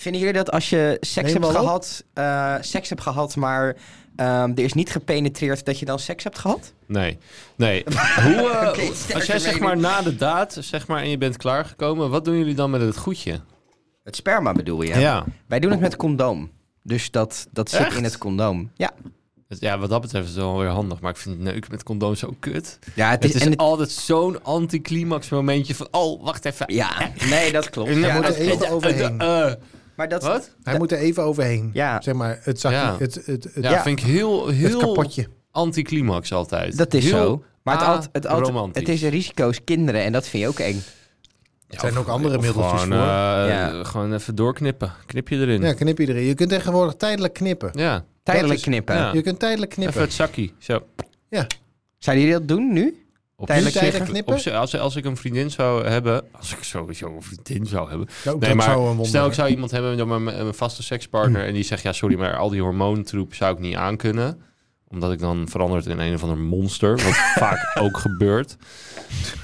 Vinden jullie dat als je seks Neem hebt wel op. gehad, eh, seks hebt gehad, maar ehm, er is niet gepenetreerd dat je dan seks hebt gehad? Nee. Nee. Hoe, eh, Oké, als sterke jij zeg mening. maar na de daad, zeg maar, en je bent klaargekomen, wat doen jullie dan met het goedje? Het sperma bedoel je? Ja. Wij doen het met condoom. Dus dat, dat zit in het condoom. Ja, Dus ja, wat dat betreft is het wel weer handig, maar ik vind het neuken met condoom zo kut. ja Het is en het- altijd zo'n anticlimax momentje van, oh, wacht even. ja, nee, dat klopt. Ja, Ja, moet dat er even klopt. overheen. Eh, eh, Maar dat, wat? Hij moet er even overheen. Ja. Zeg maar, het, zak, Ja. het, het, het, Ja, het vind ik heel, heel kapotje. anticlimax altijd. dat is Heel zo. Maar ah, het, alt, het, alt- aromantisch. het is risico's kinderen en dat vind je ook eng. Er zijn of- ook andere of middeltjes gewoon, voor. eh, Ja. Gewoon even doorknippen. Knip je erin. Ja, Ja. knip je erin. Je kunt tegenwoordig tijdelijk knippen. Tijdelijk is- knippen. ja. Je kunt tijdelijk Even knippen. het zakkie. Zo. Zouden jullie dat doen nu? Op Tijdelijk zich- knippen? op zich- als, als ik een vriendin zou hebben... Als ik sowieso een vriendin zou hebben... Ja, ook Nee, dat maar zou een wonder stel zijn. ik Mm. zou iemand hebben dan maar een, een vaste sekspartner... en die zegt, ja sorry, maar al die hormoontroep zou ik niet aankunnen omdat ik dan veranderd in een of ander monster, wat vaak ook gebeurt. Je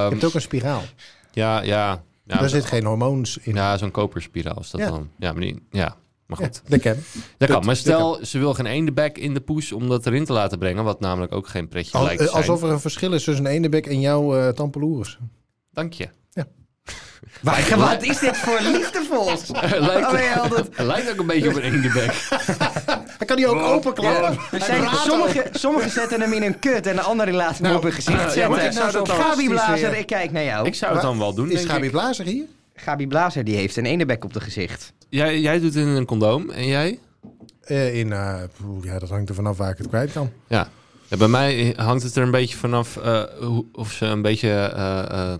Ehm, hebt ook een spiraal. ja, ja. ja Daar zit geen hormoons in. Ja, zo'n koperspiraal is dat Ja. dan. Ja, maar, die- ja, maar Ja, goed. lekker. Dat kan. Maar dat kan. stel, ze wil geen eendebek in de poes om dat erin te laten brengen. Wat namelijk ook geen pretje Al- lijkt te eh, zijn. alsof er een verschil is tussen een enebek en jouw eh tampeloeres. Dank je. Waar, wat is dit voor liefdevols? lijkt, Oh, nee, al dat- lijkt ook een beetje op een eendebek. Hij kan die ook openklappen. Er zijn- sommigen, sommigen zetten hem in een kut en de anderen laten hem op hun gezicht zetten. ja, maar ik zou dat dan- Gabi Blazer, weer. ik kijk naar jou. Ik zou het dan wel doen, Is denk Gabi ik. Blazer hier? Gabi Blazer die heeft een enebek op de gezicht. Jij, jij doet het in een condoom. En jij? Eh, in, eh, poeh, ja, dat hangt er vanaf waar ik het kwijt kan. Ja. Ja, bij mij hangt het er een beetje vanaf eh, hoe- of ze een beetje eh, eh,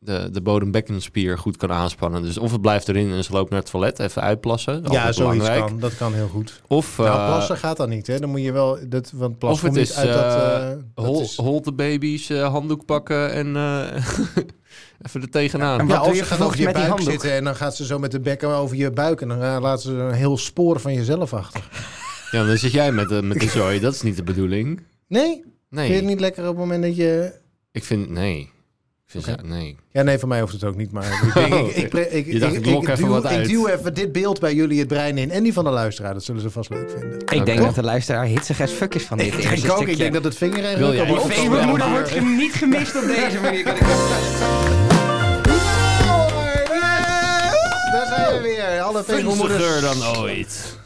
de, de bodembekkenspier goed kan aanspannen. Dus of het blijft erin en ze loopt naar het toilet, even uitplassen. Dat is altijd belangrijk. kan. Dat kan heel goed. Of, nou, eh, plassen gaat dan niet, hè? Dan moet je wel... Dat, want of plassen het komt is, niet uit dat... eh, eh, dat hol, is- hol de baby's eh, handdoek pakken en eh, even er tegenaan. En Ja, Wat doe of je ze gaat vervolgens over je met die buik handdoek? zitten en dan gaat ze zo met de bekken over je buik. En dan eh, laat ze een heel spoor van jezelf achter. Ja, dan zit jij met, de met de zooi. Dat is niet de bedoeling. Nee? Vind je Nee, het niet lekker op het moment dat je... ik vind... Nee. Ik vind Oké. zo- nee. Ja, nee, van mij hoeft het ook niet, maar ik, denk, ik, ik, pre- Oh, ik, Je dacht, ik lok even duw, wat uit. ik duw even dit beeld bij jullie het brein in. En die van de luisteraar, dat zullen ze vast leuk vinden. Dus Ik denk Oké. dat de luisteraar hitsig as fuck is van dit eerste ik ook, stukje. ik denk dat het vingerregel Wil jij kan worden die opgekomen. vingermoeder Moeder wordt hem niet gemist op deze manier. Daar zijn we weer, alle Funstiger vingermoeders. dan ooit.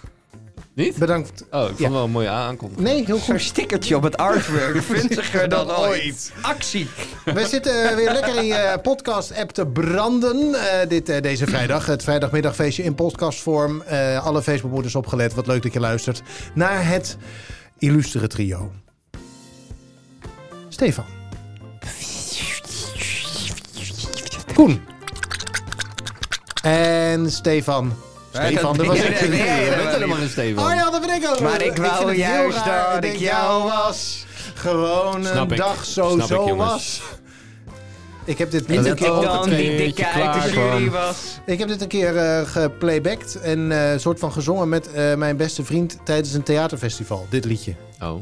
Niet? Bedankt. Oh, ik vond Ja. wel een mooie aankondiging. Nee, heel Zo'n goed. stickertje op het artwork. Funziger dan ooit. Actie. We zitten eh, weer lekker in je podcast-app te branden eh, dit, eh, deze vrijdag. Het vrijdagmiddagfeestje in podcastvorm. Eh alle Facebookmoeders opgelet, wat leuk dat je luistert. Naar het illustere trio. Stefan. Koen. En Stefan. Stefan, dat was Nee, nee, nee, nee, Je nee. bent helemaal geen Steven. Arjan, dat ben ik ook. Maar ik wou vind het heel juist raar dat ik jou was. Gewoon een Snap ik. dag zo Snap ik, zo jongens. was. Ik heb dit En een dat ik keer, dan die dikke uit de klaar jury kwam. was. ik heb dit een keer eh, geplaybacked en eh soort van gezongen met eh, mijn beste vriend tijdens een theaterfestival. Dit liedje. Oh.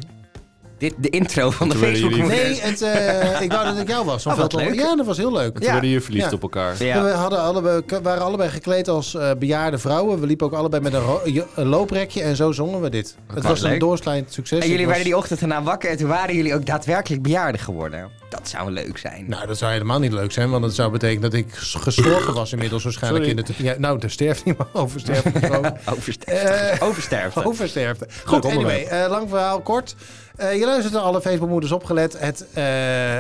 Dit, de intro van de Toen werden Facebook. jullie- Nee, het, eh, ik wou dat ik jou was. Om Oh, wat veel te- leuk. Ja, dat was heel leuk. Toen Ja. werden jullie verliefd Ja. op elkaar. We Ja. hadden allebei, k- waren allebei gekleed als eh, bejaarde vrouwen. We liepen ook allebei met een, ro- jo- een looprekje en zo zongen we dit. Het was een leuk. doorslijnd succes. En jullie Het was- werden die ochtend daarna wakker en toen waren jullie ook daadwerkelijk bejaarden geworden. Dat zou leuk zijn. Nou, dat zou helemaal niet leuk zijn, want dat zou betekenen dat ik s- gestorven was inmiddels waarschijnlijk. Sorry. In de t- ja, nou, er sterft niemand over Eh, sterfte. gewoon. Oversterfte. Oversterfte. Over sterfte. Goed, anyway, onderwerp. eh, lang verhaal kort. Eh, je luistert naar alle Facebookmoeders opgelet. Het, eh,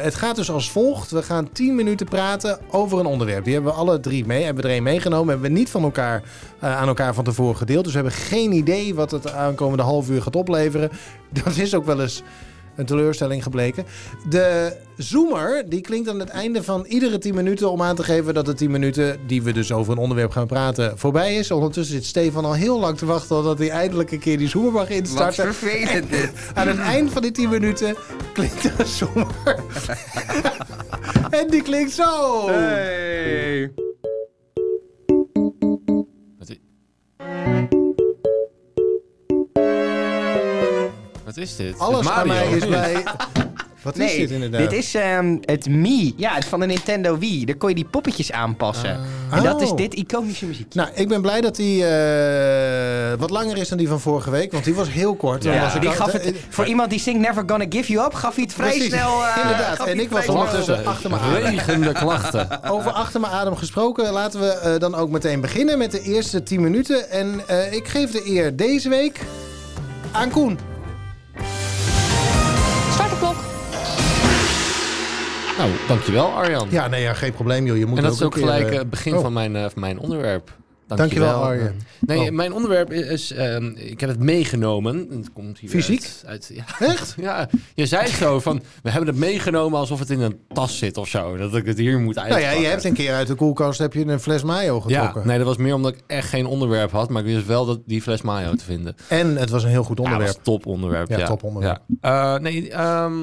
het gaat dus als volgt. We gaan 10 minuten praten over een onderwerp. Die hebben we alle drie mee, hebben we er één meegenomen. Hebben we niet van elkaar, eh, aan elkaar van tevoren gedeeld. Dus we hebben geen idee wat het aankomende half uur gaat opleveren. Dat is ook wel eens een teleurstelling gebleken. De zoomer die klinkt aan het einde van iedere 10 minuten om aan te geven dat de 10 minuten die we dus over een onderwerp gaan praten voorbij is. Ondertussen zit Stefan al heel lang te wachten totdat hij eindelijk een keer die zoomer mag Wat instarten. vervelend dit. Aan het eind van die 10 minuten klinkt de zoomer. en die klinkt zo. Hey. Wat i- Wat is dit? Alles Dit aan mij Mario. is bij Wat nee, is dit inderdaad? Dit is ehm, het Mi. Ja, het van de Nintendo Wii. Daar kon je die poppetjes aanpassen. En dat is Oh. dit iconische muziek. Nou, ik ben blij dat die eh, wat langer is dan die van vorige week, want die was heel kort. Dan Ja, was die al- gaf het, voor iemand die zingt Never Gonna Give You Up, gaf hij het vrij eh, Precies, snel... eh, inderdaad. gaf En hij ik het was dus vrij snel. ondertussen- achter me aan. Regende klachten. Over achter mijn adem gesproken, laten we eh, dan ook meteen beginnen met de eerste 10 minuten. En eh, ik geef de eer deze week aan Koen. Start de klok. Nou, dankjewel Arjan. Ja, nee, ja, geen probleem joh. Je moet en dat is een ook keer, gelijk eh, eh, het begin oh. van mijn, eh, van mijn onderwerp. Dankjewel, Arjen. Nee, Oh. mijn onderwerp is... is, ehm, ik heb het meegenomen. Het komt hier Fysiek? Uit, uit- ja, Echt? ja, je zei zo van... We hebben het meegenomen alsof het in een tas zit of zo. Dat ik het hier moet Nou uitpakken. ja, je hebt een keer uit de koelkast heb je een fles mayo getrokken. Ja, nee, dat was meer omdat ik echt geen onderwerp had. Maar ik wist wel dat die fles mayo te vinden. En het was een heel goed Ja, onderwerp. dat was top onderwerp. Ja, Ja, top onderwerp. Ja. Eh, nee, ehm,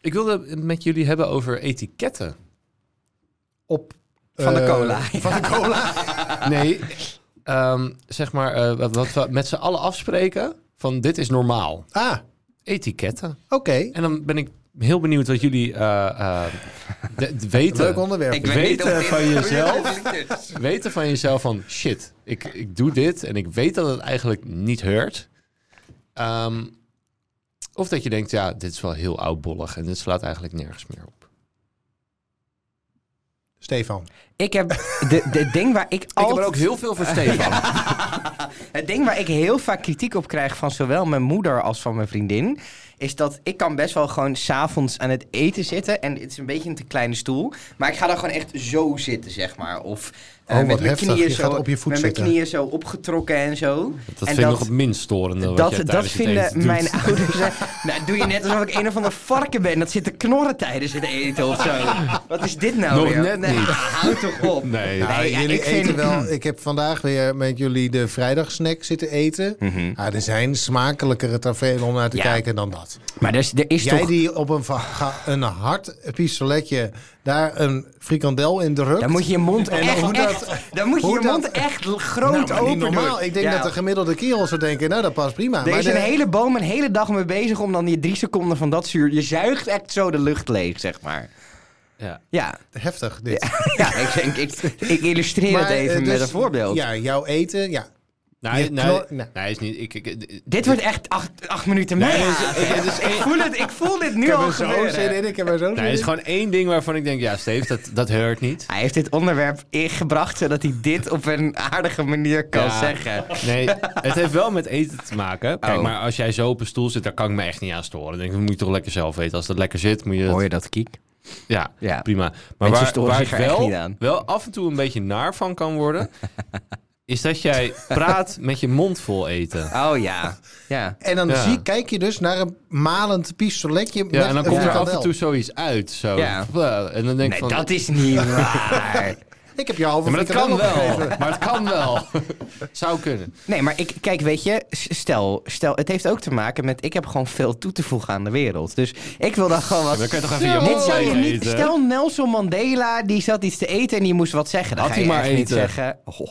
ik wilde het met jullie hebben over etiketten. Op Van de eh, cola. Van de cola. Nee, ehm, zeg maar eh, wat, wat we met z'n allen afspreken van dit is normaal. ah, Etiketten. oké. En dan ben ik heel benieuwd wat jullie eh, eh, de- de- weten. Leuk onderwerp. Ik eh, weet weet niet Weten of dit- van jezelf. weten van jezelf van shit, ik, ik doe dit en ik weet dat het eigenlijk niet hurt. Ehm, of dat je denkt, ja, dit is wel heel oudbollig en dit slaat eigenlijk nergens meer op. Stefan. Ik heb de, de ding waar ik Ik heb er altijd... ook heel veel voor Stefan. Het ding waar ik heel vaak kritiek op krijg van zowel mijn moeder als van mijn vriendin... is dat ik kan best wel gewoon s'avonds aan het eten zitten... en het is een beetje een te kleine stoel... maar ik ga dan gewoon echt zo zitten, zeg maar. Of eh, Oh, wat met mijn heftig. knieën Je zo... gaat op je voet met mijn zitten. knieën zo opgetrokken en zo. Dat en vind ik nog het minst storende. wat dat, jij dat tijdens het eten vinden doet. mijn ouders. eh, nou, doe je net alsof ik een of ander varken ben. Dat zit te knorren tijdens het eten of zo. Wat is dit nou Nog weer? net nee, niet. Houd toch op. Nee, Nou, Nou, ja, jullie ik eten vind- wel. Ik heb vandaag weer met jullie de vrijdagsnack zitten eten. Mhm. ah, er zijn smakelijkere tafereelen om naar te Ja. kijken dan dat. Maar er is, er is Jij toch. die op een, va- ga- een hard pistoletje daar een frikandel in drukt. Dan moet je je mond En echt, hoe dat- echt- dan moet je, hoe je mond dat- echt Nou, groot maar open niet normaal. doen. Ik denk Ja. dat de gemiddelde kerel zou denken, nou dat past prima. Er Maar is de- een hele boom een hele dag mee bezig om dan die drie seconden van dat zuur... Je zuigt echt zo de lucht leeg, zeg maar. Ja. Ja, Heftig dit. ja ik, denk- ik, ik illustreer Maar, het eh, even dus- met een voorbeeld. Ja, jouw eten. Ja. Nee, Je nee, knor- nee. nee, is niet. Ik, ik, ik- Dit wordt echt acht, acht minuten mee. ik, voel het, ik voel dit nu dus- Ik heb al er zo gebeuren. zin in. Ik heb er zo nee, zin het is in. gewoon één ding waarvan ik denk, ja, Steve, dat, dat heurt niet. Hij heeft dit onderwerp ingebracht zodat hij dit op een aardige manier kan Ja. zeggen. Nee, het heeft wel met eten te maken. Kijk, Oh. maar als jij zo op een stoel zit, daar kan ik me echt niet aan storen. Dan denk ik, dat moet je toch lekker zelf weten. Als dat lekker zit, moet je... dat- je dat, Kiek? ja, Ja. prima. Maar Mensen waar, storen waar ik zich er echt wel, niet aan. wel af en toe een beetje naar van kan worden... is dat jij praat met je mond vol eten. Oh ja. ja. En dan Ja. zie, kijk je dus naar een malend pistoletje Ja, met en dan een komt er frikandel. af en toe zoiets uit. Zo. Ja. Blah, En dan denk ik Nee, van... dat is niet waar. Ik heb je halve Ja, maar dat kan frikandel wel. opgegeven. Maar het kan wel. Zou kunnen. Nee, maar ik, kijk, weet je, s- stel, stel, het heeft ook te maken met, ik heb gewoon veel toe te voegen aan de wereld. Dus ik wil dan gewoon wat... Dan kan je toch even je Dit mond zou je leeg niet... eten. Stel, Nelson Mandela, die zat iets te eten en die moest wat zeggen. Dan Had ga je hij maar echt niet eten. zeggen... Oh,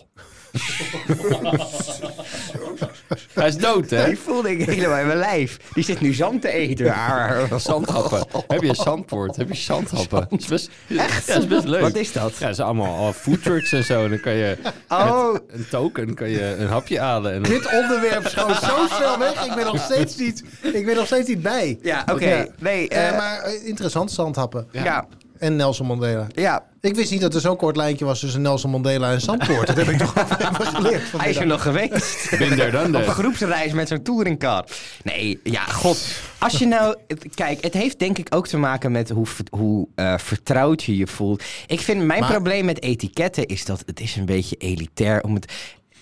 Hij is dood, hè? die voelde ik helemaal in mijn lijf. Die zit nu zand te eten. Arr. Zandhappen. Heb je zandpoort? Heb je zandhappen? Oh. Dat is best, Echt? Ja, dat is best leuk. Wat is dat? Ja, dat zijn allemaal uh, foodtrucks en zo. En dan kan je Oh, met een token kan je een hapje halen. En Dit onderwerp is gewoon zo snel weg. Ik ben nog steeds niet, ik ben nog steeds niet bij. ja, oké. Ja. Nee, Eh, eh, maar eh, interessant, zandhappen. ja. ja. En Nelson Mandela. Ik wist niet dat er zo'n kort lijntje was tussen Nelson Mandela en Zandpoort. Dat heb ik toch even geleerd hij is er vanmiddag. nog geweest. Minder dan Eh. Op een de. groepsreis met zo'n touringcar. Nee, ja, god. Als je nou... het- Kijk, het heeft denk ik ook te maken met hoe, ver- hoe eh, vertrouwd je je voelt. Ik vind mijn Maar- probleem met etiketten is dat het is een beetje elitair om het...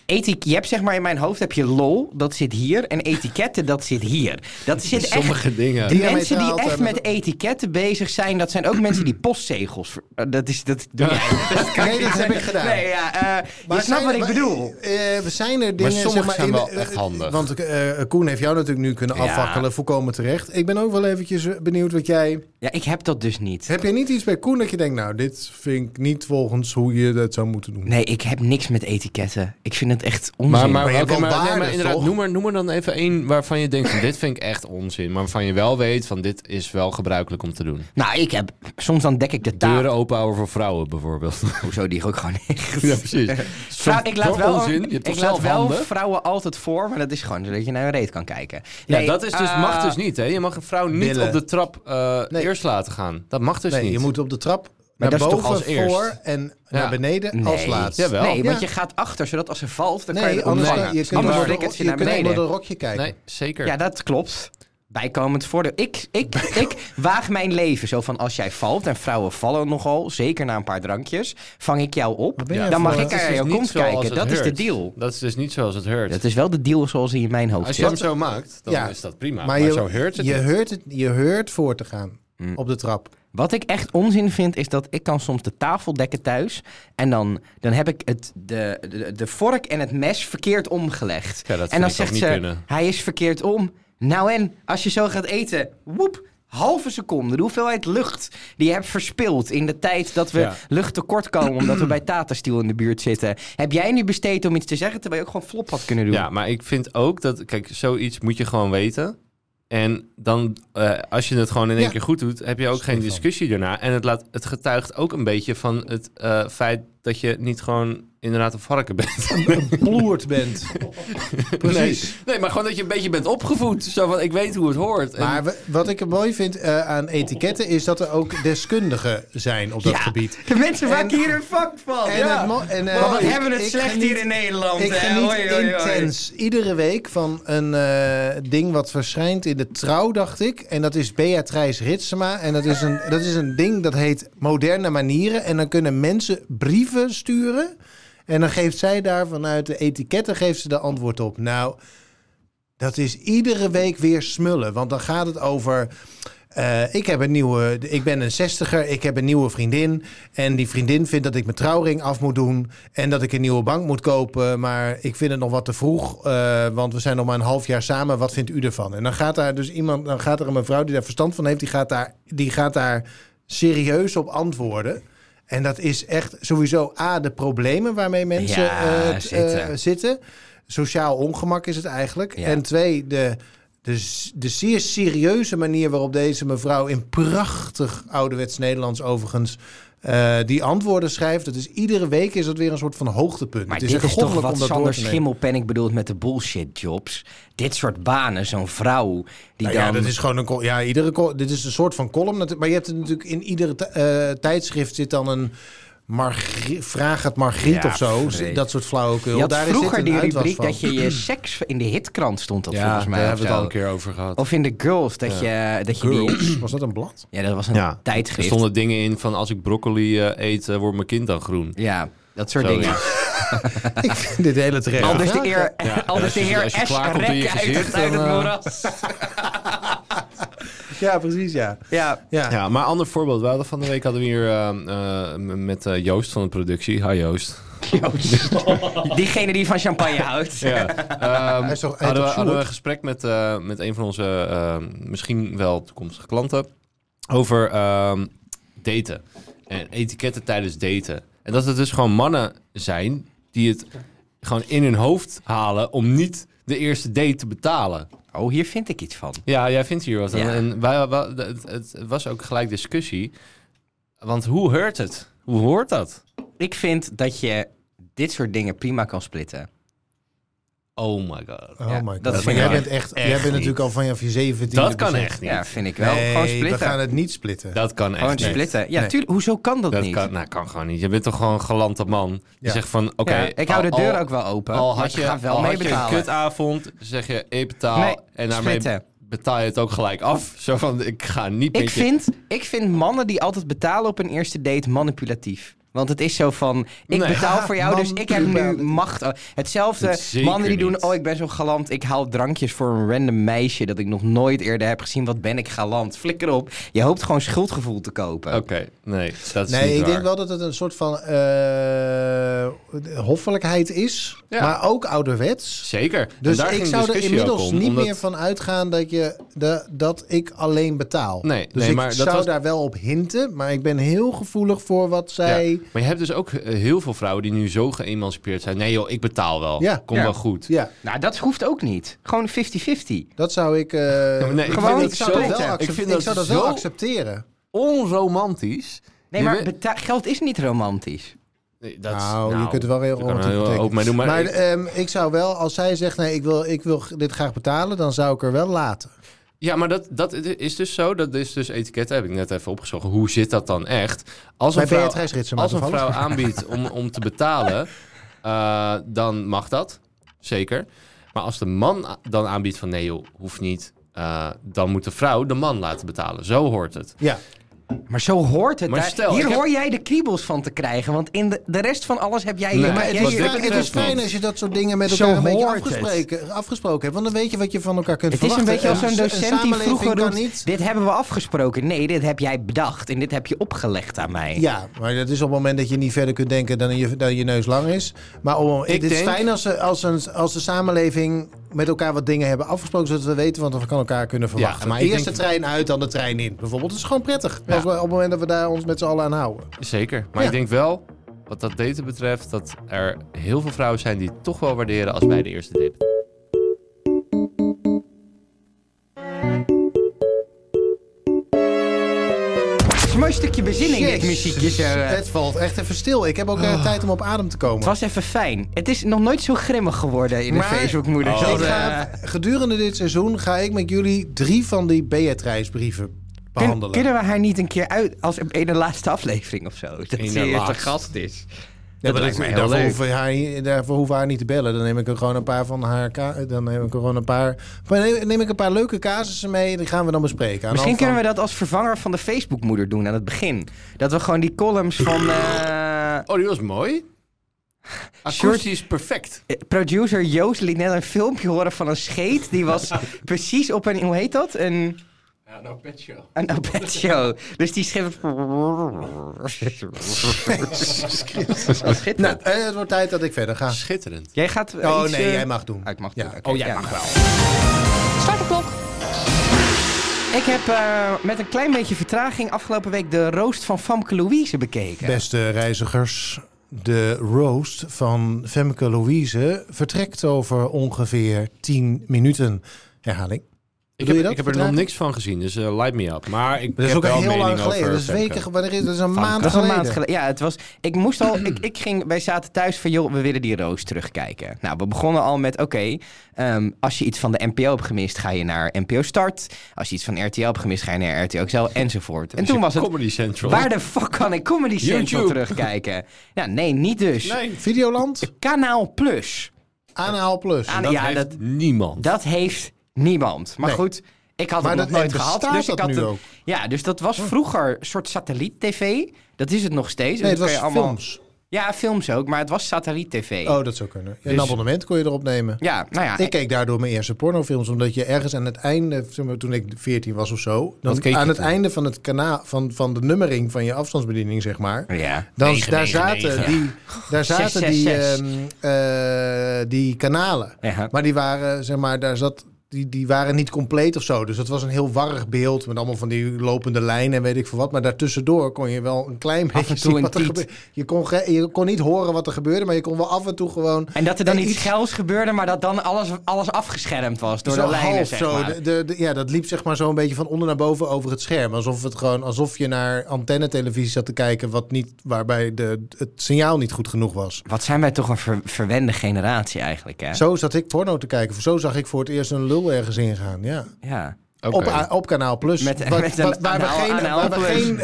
Etik, je hebt zeg maar in mijn hoofd heb je lol, dat zit hier. En etiketten, dat zit hier. Dat zit echt... Sommige dingen. De Diametraal mensen die echt altijd. met etiketten bezig zijn, dat zijn ook mensen die postzegels... ver- eh, Dat is... Dat doe jij. Dat kan Nee, ik dat niet heb ik zeggen. gedaan. Nee, ja, eh, je snapt wat zijn ik er- bedoel. eh, eh, zijn er dingen... sommige zijn in- wel eh, echt handig. Want eh, Koen heeft jou natuurlijk nu kunnen Ja. afwakkelen. Volkomen terecht. Ik ben ook wel eventjes eh, benieuwd wat jij... Ja, ik heb dat dus niet. Heb je niet iets bij Koen dat je denkt... Nou, dit vind ik niet volgens hoe je dat zou moeten doen? Nee, ik heb niks met etiketten. Ik vind het het echt onzin. Maar, maar, Maar je hebt oké, wel maar- nee, waardes, maar inderdaad, toch? noem, maar, noem maar dan even één waarvan je denkt, van, dit vind ik echt onzin. Maar waarvan je wel weet, van dit is wel gebruikelijk om te doen. Nou, ik heb... Soms dan dek ik de taal. Deuren open houden voor vrouwen bijvoorbeeld. Hoezo, die ook gewoon echt. ja, precies. Vrouw, ik laat wel, onzin. Je hebt toch ik laat zelf wel handen? vrouwen altijd voor, maar dat is gewoon zodat je naar een reet kan kijken. Ja, Nee, dat is dus, eh, mag dus niet, hè? Je mag een vrouw niet Billen. op de trap eh, Nee. eerst laten gaan. Dat mag dus nee, niet. je moet op de trap Maar dat naar is boven, toch als eerst? voor en naar Ja. beneden Nee. als laatst. Jawel. Nee, want je Ja. gaat achter, zodat als ze valt, dan kan je Nee, er anders, ondervangen. dan, je kunt Anders onder, flikkert de, ze je naar kunt onder beneden. een rokje kijken. Nee, zeker. Ja, dat klopt. Bijkomend voordeel. Ik, ik, ik waag mijn leven zo van als jij valt, en vrouwen vallen nogal, zeker na een paar drankjes, vang ik jou op. Wat ben jij Dan voor- mag ik Het is naar dus jou niet kont zoals kijken. het Dat is de heurt. deal. Dat is dus niet zoals het heurt. Dat is wel de deal zoals hij in mijn hoofd Als zit. je hem zo maakt, dan Ja. is dat prima. Nou, Maar Maar, je- zo heurt het je, niet. heurt het, je heurt voor te gaan Mm. op de trap. Wat ik echt onzin vind, is dat ik kan soms de tafel dekken thuis. En dan, dan heb ik het, de, de, de vork en het mes verkeerd omgelegd. Ja, en dat vind dan ik zegt ook niet ze, kunnen. hij is verkeerd om. Nou en, als je zo gaat eten, woep, halve seconde. De hoeveelheid lucht die je hebt verspild in de tijd dat we Ja. lucht tekort komen... omdat we bij Tata Steel in de buurt zitten. Heb jij nu besteed om iets te zeggen, terwijl je ook gewoon flop had kunnen doen? Ja, maar ik vind ook dat, kijk, zoiets moet je gewoon weten. En dan, eh, als je het gewoon in één Ja. keer goed doet, heb je ook geen Stefan. discussie daarna. En het, laat, het getuigt ook een beetje van het eh, feit dat je niet gewoon inderdaad een varken bent. Ploerd bent. Precies. Nee, nee, maar gewoon dat je een beetje bent opgevoed. Zo van, ik weet hoe het hoort. En- Maar we- wat ik mooi vind eh, aan etiketten is dat er ook deskundigen zijn op dat gebied. De mensen En- maken hier een vak van. En ja. het mo- en, eh, Maar wat ik- hebben we het ik slecht geniet- hier in Nederland. Ik hè? geniet Hoi, hoi, hoi. intens iedere week van een eh, ding wat verschijnt in de trouw, dacht ik. En dat is Beatrice Ritsema. En dat is, een, dat is een ding dat heet moderne manieren. En dan kunnen mensen brieven sturen. En dan geeft zij daar vanuit de etiketten geeft ze de antwoord op. Nou, dat is iedere week weer smullen. Want dan gaat het over. eh, ik, heb een nieuwe, ik ben een zestiger, ik heb een nieuwe vriendin. En die vriendin vindt dat ik mijn trouwring af moet doen. En dat ik een nieuwe bank moet kopen. Maar ik vind het nog wat te vroeg. eh, want we zijn nog maar een half jaar samen. Wat vindt u ervan? En dan gaat daar dus iemand, dan gaat er een mevrouw die daar verstand van heeft. Die gaat daar, die gaat daar serieus op antwoorden. En dat is echt sowieso A, de problemen waarmee mensen Ja, eh, t- zitten. eh, zitten. Sociaal ongemak is het eigenlijk. Ja. En twee, de, de, s- de zeer serieuze manier waarop deze mevrouw in prachtig ouderwets Nederlands overigens eh, die antwoorden schrijft. Dat is iedere week is dat weer een soort van hoogtepunt. Maar het dit is toch goddelijk wat om dat Sander door te nemen. Schimmelpenning bedoelt met de bullshit jobs. Dit soort banen, zo'n vrouw die Nou dan... ja, dat is gewoon een col- ja, iedere col- dit is een soort van column. natu- Maar je hebt het natuurlijk in iedere t- eh, tijdschrift zit dan een Margri- vraag het Margriet Ja, of zo. vreemd. Dat soort flauwekul. je had Daar zit vroeger een die uitwas rubriek van. dat je je seks in de hitkrant stond dat volgens mij. daar of, hebben we het al zo. een keer over gehad. of in de girls dat je, dat je die... Girls, was dat een blad? Ja, dat was een Ja. Er tijdschrift. stonden dingen in van als ik broccoli eh, eet, eh, wordt mijn kind dan groen. Ja, dat soort Zoiets. dingen. Ik vind dit hele terecht. dus Anders de heer, anders als de je- heer als je S. klaarkomt in je rekken uit, het- gezicht, uit het dan, eh, moeras. Ja, precies, ja. Ja. Ja, Ja, maar ander voorbeeld. We hadden van de week hadden we hier eh, eh, met eh, Joost van de productie. Hi Joost. Diegene die van champagne houdt. Ja. Ehm, Hij is toch- hij hadden, we, toch hadden we Sjoerd? een gesprek met, eh, met een van onze eh, misschien wel toekomstige klanten over ehm, daten en etiketten tijdens daten. En dat het dus gewoon mannen zijn die het gewoon in hun hoofd halen om niet de eerste date te betalen. Oh, hier vind ik iets van. Ja, jij vindt hier wat aan. Ja. En wij, wij- het, het was ook gelijk discussie. Want hoe hoort het? Hoe hoort dat? Ik vind dat je dit soort dingen prima kan splitten. Oh my god. Oh Ja, my god. dat Maar vind jij ik bent echt, jij bent niet. natuurlijk al van je 17 Dat kan echt niet. Ja, vind ik wel. Nee, gewoon we splitten. gaan het niet splitten. Dat kan echt Gewoon niet. splitten. Ja, Nee. tuurlijk. Hoezo kan dat, Dat niet? kan, nou, kan gewoon niet. Je bent toch gewoon een galante man. Die Ja. zegt van, oké... Ja, ik hou de al- deur al- ook wel open. Al maar had je, ik ga wel al mee had je een betalen. kutavond, zeg je, ik betaal. Nee, en daarmee splitten. betaal je het ook gelijk af. Zo van, ik ga niet ik, met je- vind, ik vind mannen die altijd betalen op een eerste date manipulatief. Want het is zo van, ik Nee. betaal voor jou, Man- dus ik heb nu macht. Oh, Hetzelfde, Zeker mannen die doen, niet. oh ik ben zo galant, ik haal drankjes voor een random meisje dat ik nog nooit eerder heb gezien. Wat ben ik galant, flikker op. Je hoopt gewoon schuldgevoel te kopen. Oké, nee, dat is Nee, niet ik waar. denk wel dat het een soort van eh, hoffelijkheid is, Ja. maar ook ouderwets. Zeker. En Dus daar ik ging zou er discussie ook inmiddels om, niet omdat- meer van uitgaan dat, je de, dat ik alleen betaal. Nee, dus nee, ik maar dat zou was- daar wel op hinten, maar ik ben heel gevoelig voor wat zij idee. Maar je hebt dus ook eh, heel veel vrouwen die nu zo geëmancipeerd zijn. Nee joh, ik betaal wel. Ja. Kom Ja. wel goed. Ja, Nou, dat hoeft ook niet. Gewoon 50-50. dat zou ik. eh, maar nee, ik gewoon- vind ik dat zou zo- ik dat wel vind accepteren. dat Ik zou dat wel zo- accepteren. Onromantisch. Nee, Je maar weet- beta- geld is niet romantisch. Nee, dat, Nou, je kunt er wel heel je kan er romantiek betekenen. ook mee doen. Maar, Maar ik- ehm, ik zou wel, als zij zegt, nee, ik wil, ik wil dit graag betalen, dan zou ik er wel laten. ja, maar dat, dat is dus zo. Dat is dus etiketten, heb ik net even opgezocht. Hoe zit dat dan echt? Als Bij een vrouw, Beatrice Ritsema als een toevallig. vrouw aanbiedt om, om te betalen, eh, dan mag dat. Zeker. Maar als de man a- dan aanbiedt van nee joh, hoeft niet. eh, dan moet de vrouw de man laten betalen. Zo hoort het. Ja, Maar zo hoort het. Maar Daar- stel, ik hier heb- hoor jij de kriebels van te krijgen. Want in de, de rest van alles heb jij... Nee, heb maar maar het jij is, hier- wat fijn, dit het is betreft fijn niet. als je dat soort dingen met Zo elkaar een beetje hoort het. afgesproken, afgesproken hebt. Want dan weet je wat je van elkaar kunt Het is een beetje verwachten. als En zo'n eh, een docent die samenleving vroeger kan roept... niet- Dit hebben we afgesproken. Nee, dit heb jij bedacht. En dit heb je opgelegd aan mij. Ja, maar dat is op het moment dat je niet verder kunt denken dan je, dan je neus lang is. Maar op, Ik het is denk- fijn als, ze- als, een, als de samenleving met elkaar wat dingen hebben afgesproken, zodat we weten wat we van elkaar kunnen verwachten. Ja, maar ik eerst denk- de trein uit, dan de trein in. Bijvoorbeeld, dat is gewoon prettig. Ja. Als we, op het moment dat we daar ons met z'n allen aan houden. Zeker. Maar Ja. ik denk wel, wat dat daten betreft, dat er heel veel vrouwen zijn die het toch wel waarderen als bij de eerste date. Het is een mooi stukje bezinning, dit Jezus, muziekje. zo, eh. Het valt echt even stil. Ik heb ook Oh. eh, tijd om op adem te komen. Het was even fijn. Het is nog nooit zo grimmig geworden in de Maar- Facebookmoeder. Oh, Zo, Ik eh, ga- gedurende dit seizoen ga ik met jullie drie van die Beatrice-brieven kun- behandelen. kunnen we haar niet een keer uit als in de laatste aflevering of zo? Dat In de ze eerst laatste. een gast is. Ja, Dat maar lijkt ik- me heel daarvoor, leuk. hoeven we haar, niet- daarvoor hoeven we haar niet te bellen. Dan neem ik er gewoon een paar van haar. ka- Dan neem ik er gewoon een paar. Maar neem, neem ik een paar leuke casussen mee. Die gaan we dan bespreken. Aan de Misschien hand van- kunnen we dat als vervanger van de Facebookmoeder doen aan het begin. Dat we gewoon die columns van eh, Oh, die was mooi. Acoustisch perfect. producer Joost liet net een filmpje horen van een scheet. Die was precies op een, hoe heet dat? Een, Ja, nou, pet show. een Abed show. Dus die schreef... Nou, Schitterend. eh, het wordt tijd dat ik verder ga. Schitterend. Jij gaat eh, Oh iets, nee, eh, jij mag doen. Ah, ik mag Ja. oh, doen. Oké, ja. wel. Start de klok. Ik heb eh, met een klein beetje vertraging afgelopen week de roost van Famke Louise bekeken. Beste reizigers. De roast van Femke Louise vertrekt over ongeveer 10 minuten. Herhaling. Ik Doe heb, je dat? ik heb er nog Vertragen? niks van gezien, dus eh, light me up. Maar ik Dat is heb ook wel heel mening lang geleden. over Dat is, Femke. weken, wanneer is, dat is een Dat maand was een geleden. maand geleden. Ja, het was. Ik moest al. ik, ik ging. Wij zaten thuis van. joh, we willen die roos terugkijken. Nou, we begonnen al met. Oké, ehm, als je iets van de NPO hebt gemist, ga je naar NPO Start. Als je iets van RTL hebt gemist, ga je naar RTL XL enzovoort. En Dus toen je was het. Comedy Central. Waar de fuck kan ik Comedy Central YouTube. terugkijken? Nou, nee, niet dus. Nee, Videoland, Kanaal Plus. Aanhaal Plus. Aan- dat ja, heeft dat- niemand. Dat heeft niemand. Maar Nee. goed, ik had Maar het dat- nog nooit en gehad. bestaat Dus dat ik had nu het- ook? Hm. Ja, dus dat was vroeger een soort satelliet-tv. Dat is het nog steeds. Dus nee, het dan kan was je films. Ja, films ook, maar het was satelliet-tv. Oh, dat zou kunnen. Een Dus- abonnement kon je erop nemen. Ja, nou ja. Ik keek daardoor mijn eerste pornofilms, omdat je ergens aan het einde, zeg maar, toen ik 14 was of zo, dan Wat keek je aan het toen? einde van, het kanaal, van, van de nummering van je afstandsbediening, zeg maar. ja. Dan, Negen, daar, negen, zaten negen. Die, daar zaten zes, die, zes. ehm, eh, die kanalen. Ja. Maar die waren, zeg maar, daar zat, die, die waren niet compleet of zo. Dus dat was een heel warrig beeld met allemaal van die lopende lijnen en weet ik veel wat. Maar daartussendoor kon je wel een klein beetje en toe zien een wat er tiet. gebeurde. Je kon, ge- je kon niet horen wat er gebeurde, maar je kon wel af en toe gewoon... En dat er dan eh, iets geils gebeurde, maar dat dan alles, alles afgeschermd was door zo de lijnen, half zeg zo. maar. De, de, de- ja, dat liep zeg maar zo een beetje van onder naar boven over het scherm. Alsof, het gewoon, alsof je naar antennetelevisie zat te kijken wat niet, waarbij de, het signaal niet goed genoeg was. Wat zijn wij toch een ver- verwende generatie eigenlijk, hè? Zo zat ik porno te kijken. Zo zag ik voor het eerst een lul ergens ingaan. Ja. Ja. Oké. Op, a- op Kanaal Plus. Met- Wat- met wat- een waar we anaal- geen, anaal waar we plus. geen,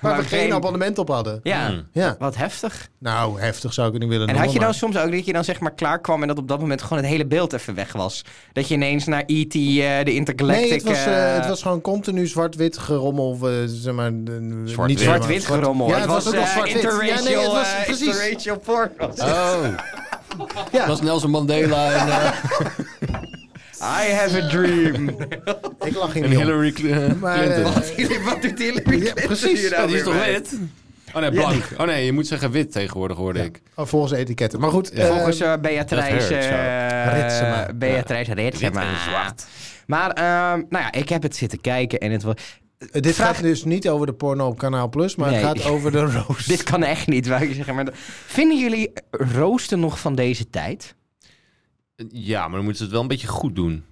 waar we geen geen- abonnement op hadden. Ja. Hmm. Ja. Wat heftig. Nou, heftig zou ik het niet willen En noemen, had je dan maar- soms ook dat je dan zeg maar klaar kwam en dat op dat moment gewoon het hele beeld even weg was? Dat je ineens naar E.T., eh, de Intergalactic... Nee, het was, eh, eh, het was gewoon continu zwart-wit gerommel. Of, eh, zeg maar, eh, niet helemaal Zwart-wit. Zwart-wit zwart- gerommel. Ja, het was, ook nog eh, zwart-wit. Ja, nee, interracial, het was eh, precies. interracial porn. was het. Oh, Ja. dat was Nelson Mandela en, eh, I have a dream. Ik lag in en die om. Hillary Cl- Maar, Clinton. eh, Wat doet Hillary Clinton Ja, precies. hier Ja, nou die is weer toch bij? wit? Oh nee, blank. Oh nee, je moet zeggen wit tegenwoordig, hoorde ik. Oh, volgens etiketten. Maar goed, Ja. eh, Volgens eh, Beatrice... dat eh, Ritsema. Beatrice Ritsema. en zwart. Maar, ehm, nou ja, ik heb het zitten kijken en het was... Eh, dit Vraag- gaat dus niet over de porno op Kanaal Plus, maar Nee. het gaat over de roast. Dit kan echt niet, wou ik zeggen. Maar de- vinden jullie roosten nog van deze tijd? Ja, maar dan moeten ze het wel een beetje goed doen.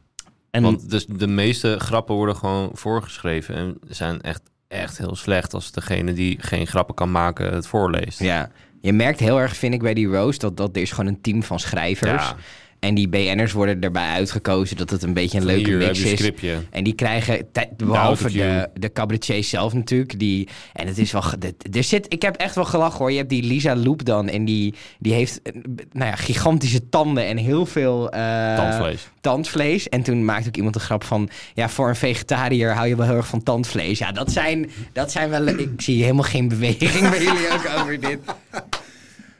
En Want dus de meeste grappen worden gewoon voorgeschreven en zijn echt, echt heel slecht als degene die geen grappen kan maken het voorleest. ja, je merkt heel erg, vind ik, bij die roast... dat, dat er is gewoon een team van schrijvers. Ja. En die BN'ers worden erbij uitgekozen dat het een beetje een leuke Hier heb mix je een is. scriptje. En die krijgen, te- behalve de, autotune. de cabaretier zelf natuurlijk, die... En het is wel... ge- dit- Er zit, ik heb echt wel gelachen hoor. Je hebt die Lisa Loep dan en die, die heeft eh, nou ja, gigantische tanden en heel veel... eh, Tandvlees. tandvlees. En toen maakte ook iemand een grap van... ja, voor een vegetariër hou je wel heel erg van tandvlees. Ja, dat zijn, dat zijn wel... Ik zie helemaal geen beweging bij jullie ook over dit.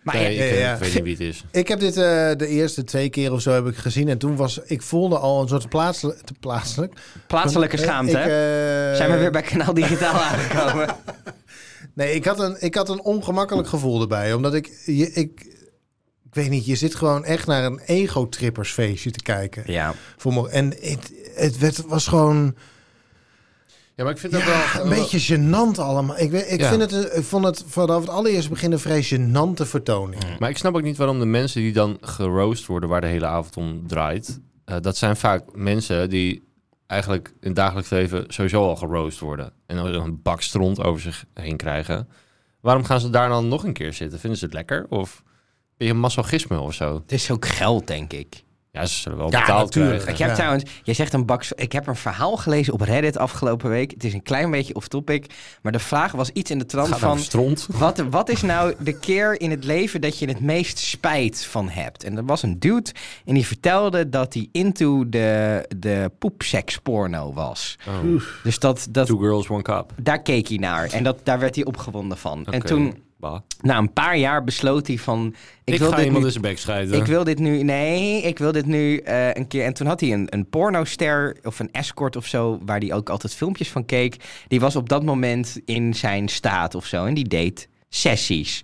Maar Nee, ja, ik, eh, ja, ja. ik weet niet wie het is. Ik heb dit eh, de eerste twee keer of zo heb ik gezien. En toen was ik voelde al een soort plaatselijk. Te plaatselijk. plaatselijke Eh, schaamte. ik, hè? eh, zijn we weer bij Kanaal Digitaal aangekomen? Nee, ik had, een, ik had een ongemakkelijk gevoel erbij. Omdat ik, je, ik. Ik weet niet, je zit gewoon echt naar een ego-trippersfeestje te kijken. Ja. Voor me. En het, het werd, was gewoon. Ja, maar ik vind Ja, een beetje gênant allemaal. Ik, weet- ik, Ja. vind het, eh, ik vond het vanaf het allereerste begin een vrij gênante vertoning. Mm. Maar ik snap ook niet waarom de mensen die dan geroost worden, waar de hele avond om draait, eh, dat zijn vaak mensen die eigenlijk in het dagelijks leven sowieso al geroost worden. En dan een bak stront over zich heen krijgen. Waarom gaan ze daar dan nog een keer zitten? Vinden ze het lekker? Of ben je een masochisme of zo? Het is ook geld, denk ik. Ja, ze zullen wel Ja, betaald natuurlijk. Ik krijgen. heb Ja. trouwens, jij zegt een bak. Ik heb een verhaal gelezen op Reddit afgelopen week. Het is een klein beetje off topic. Maar de vraag was iets in de trant Gaat van. van stront. Wat, wat is nou de keer in het leven dat je het meest spijt van hebt? En er was een dude en die vertelde dat hij into de, de poepseksporno was. Oh. Dus dat, dat, Two girls, one cup. daar keek hij naar en dat, daar werd hij opgewonden van. En Oké, toen, bah. na een paar jaar, besloot hij van... Ik, Ik, wil ga dit iemand nu in zijn bek scheiden. ik wil dit nu, nee, ik wil dit nu eh, een keer. En toen had hij een, een pornoster of een escort of zo, waar hij ook altijd filmpjes van keek. Die was op dat moment in zijn staat of zo en die deed sessies.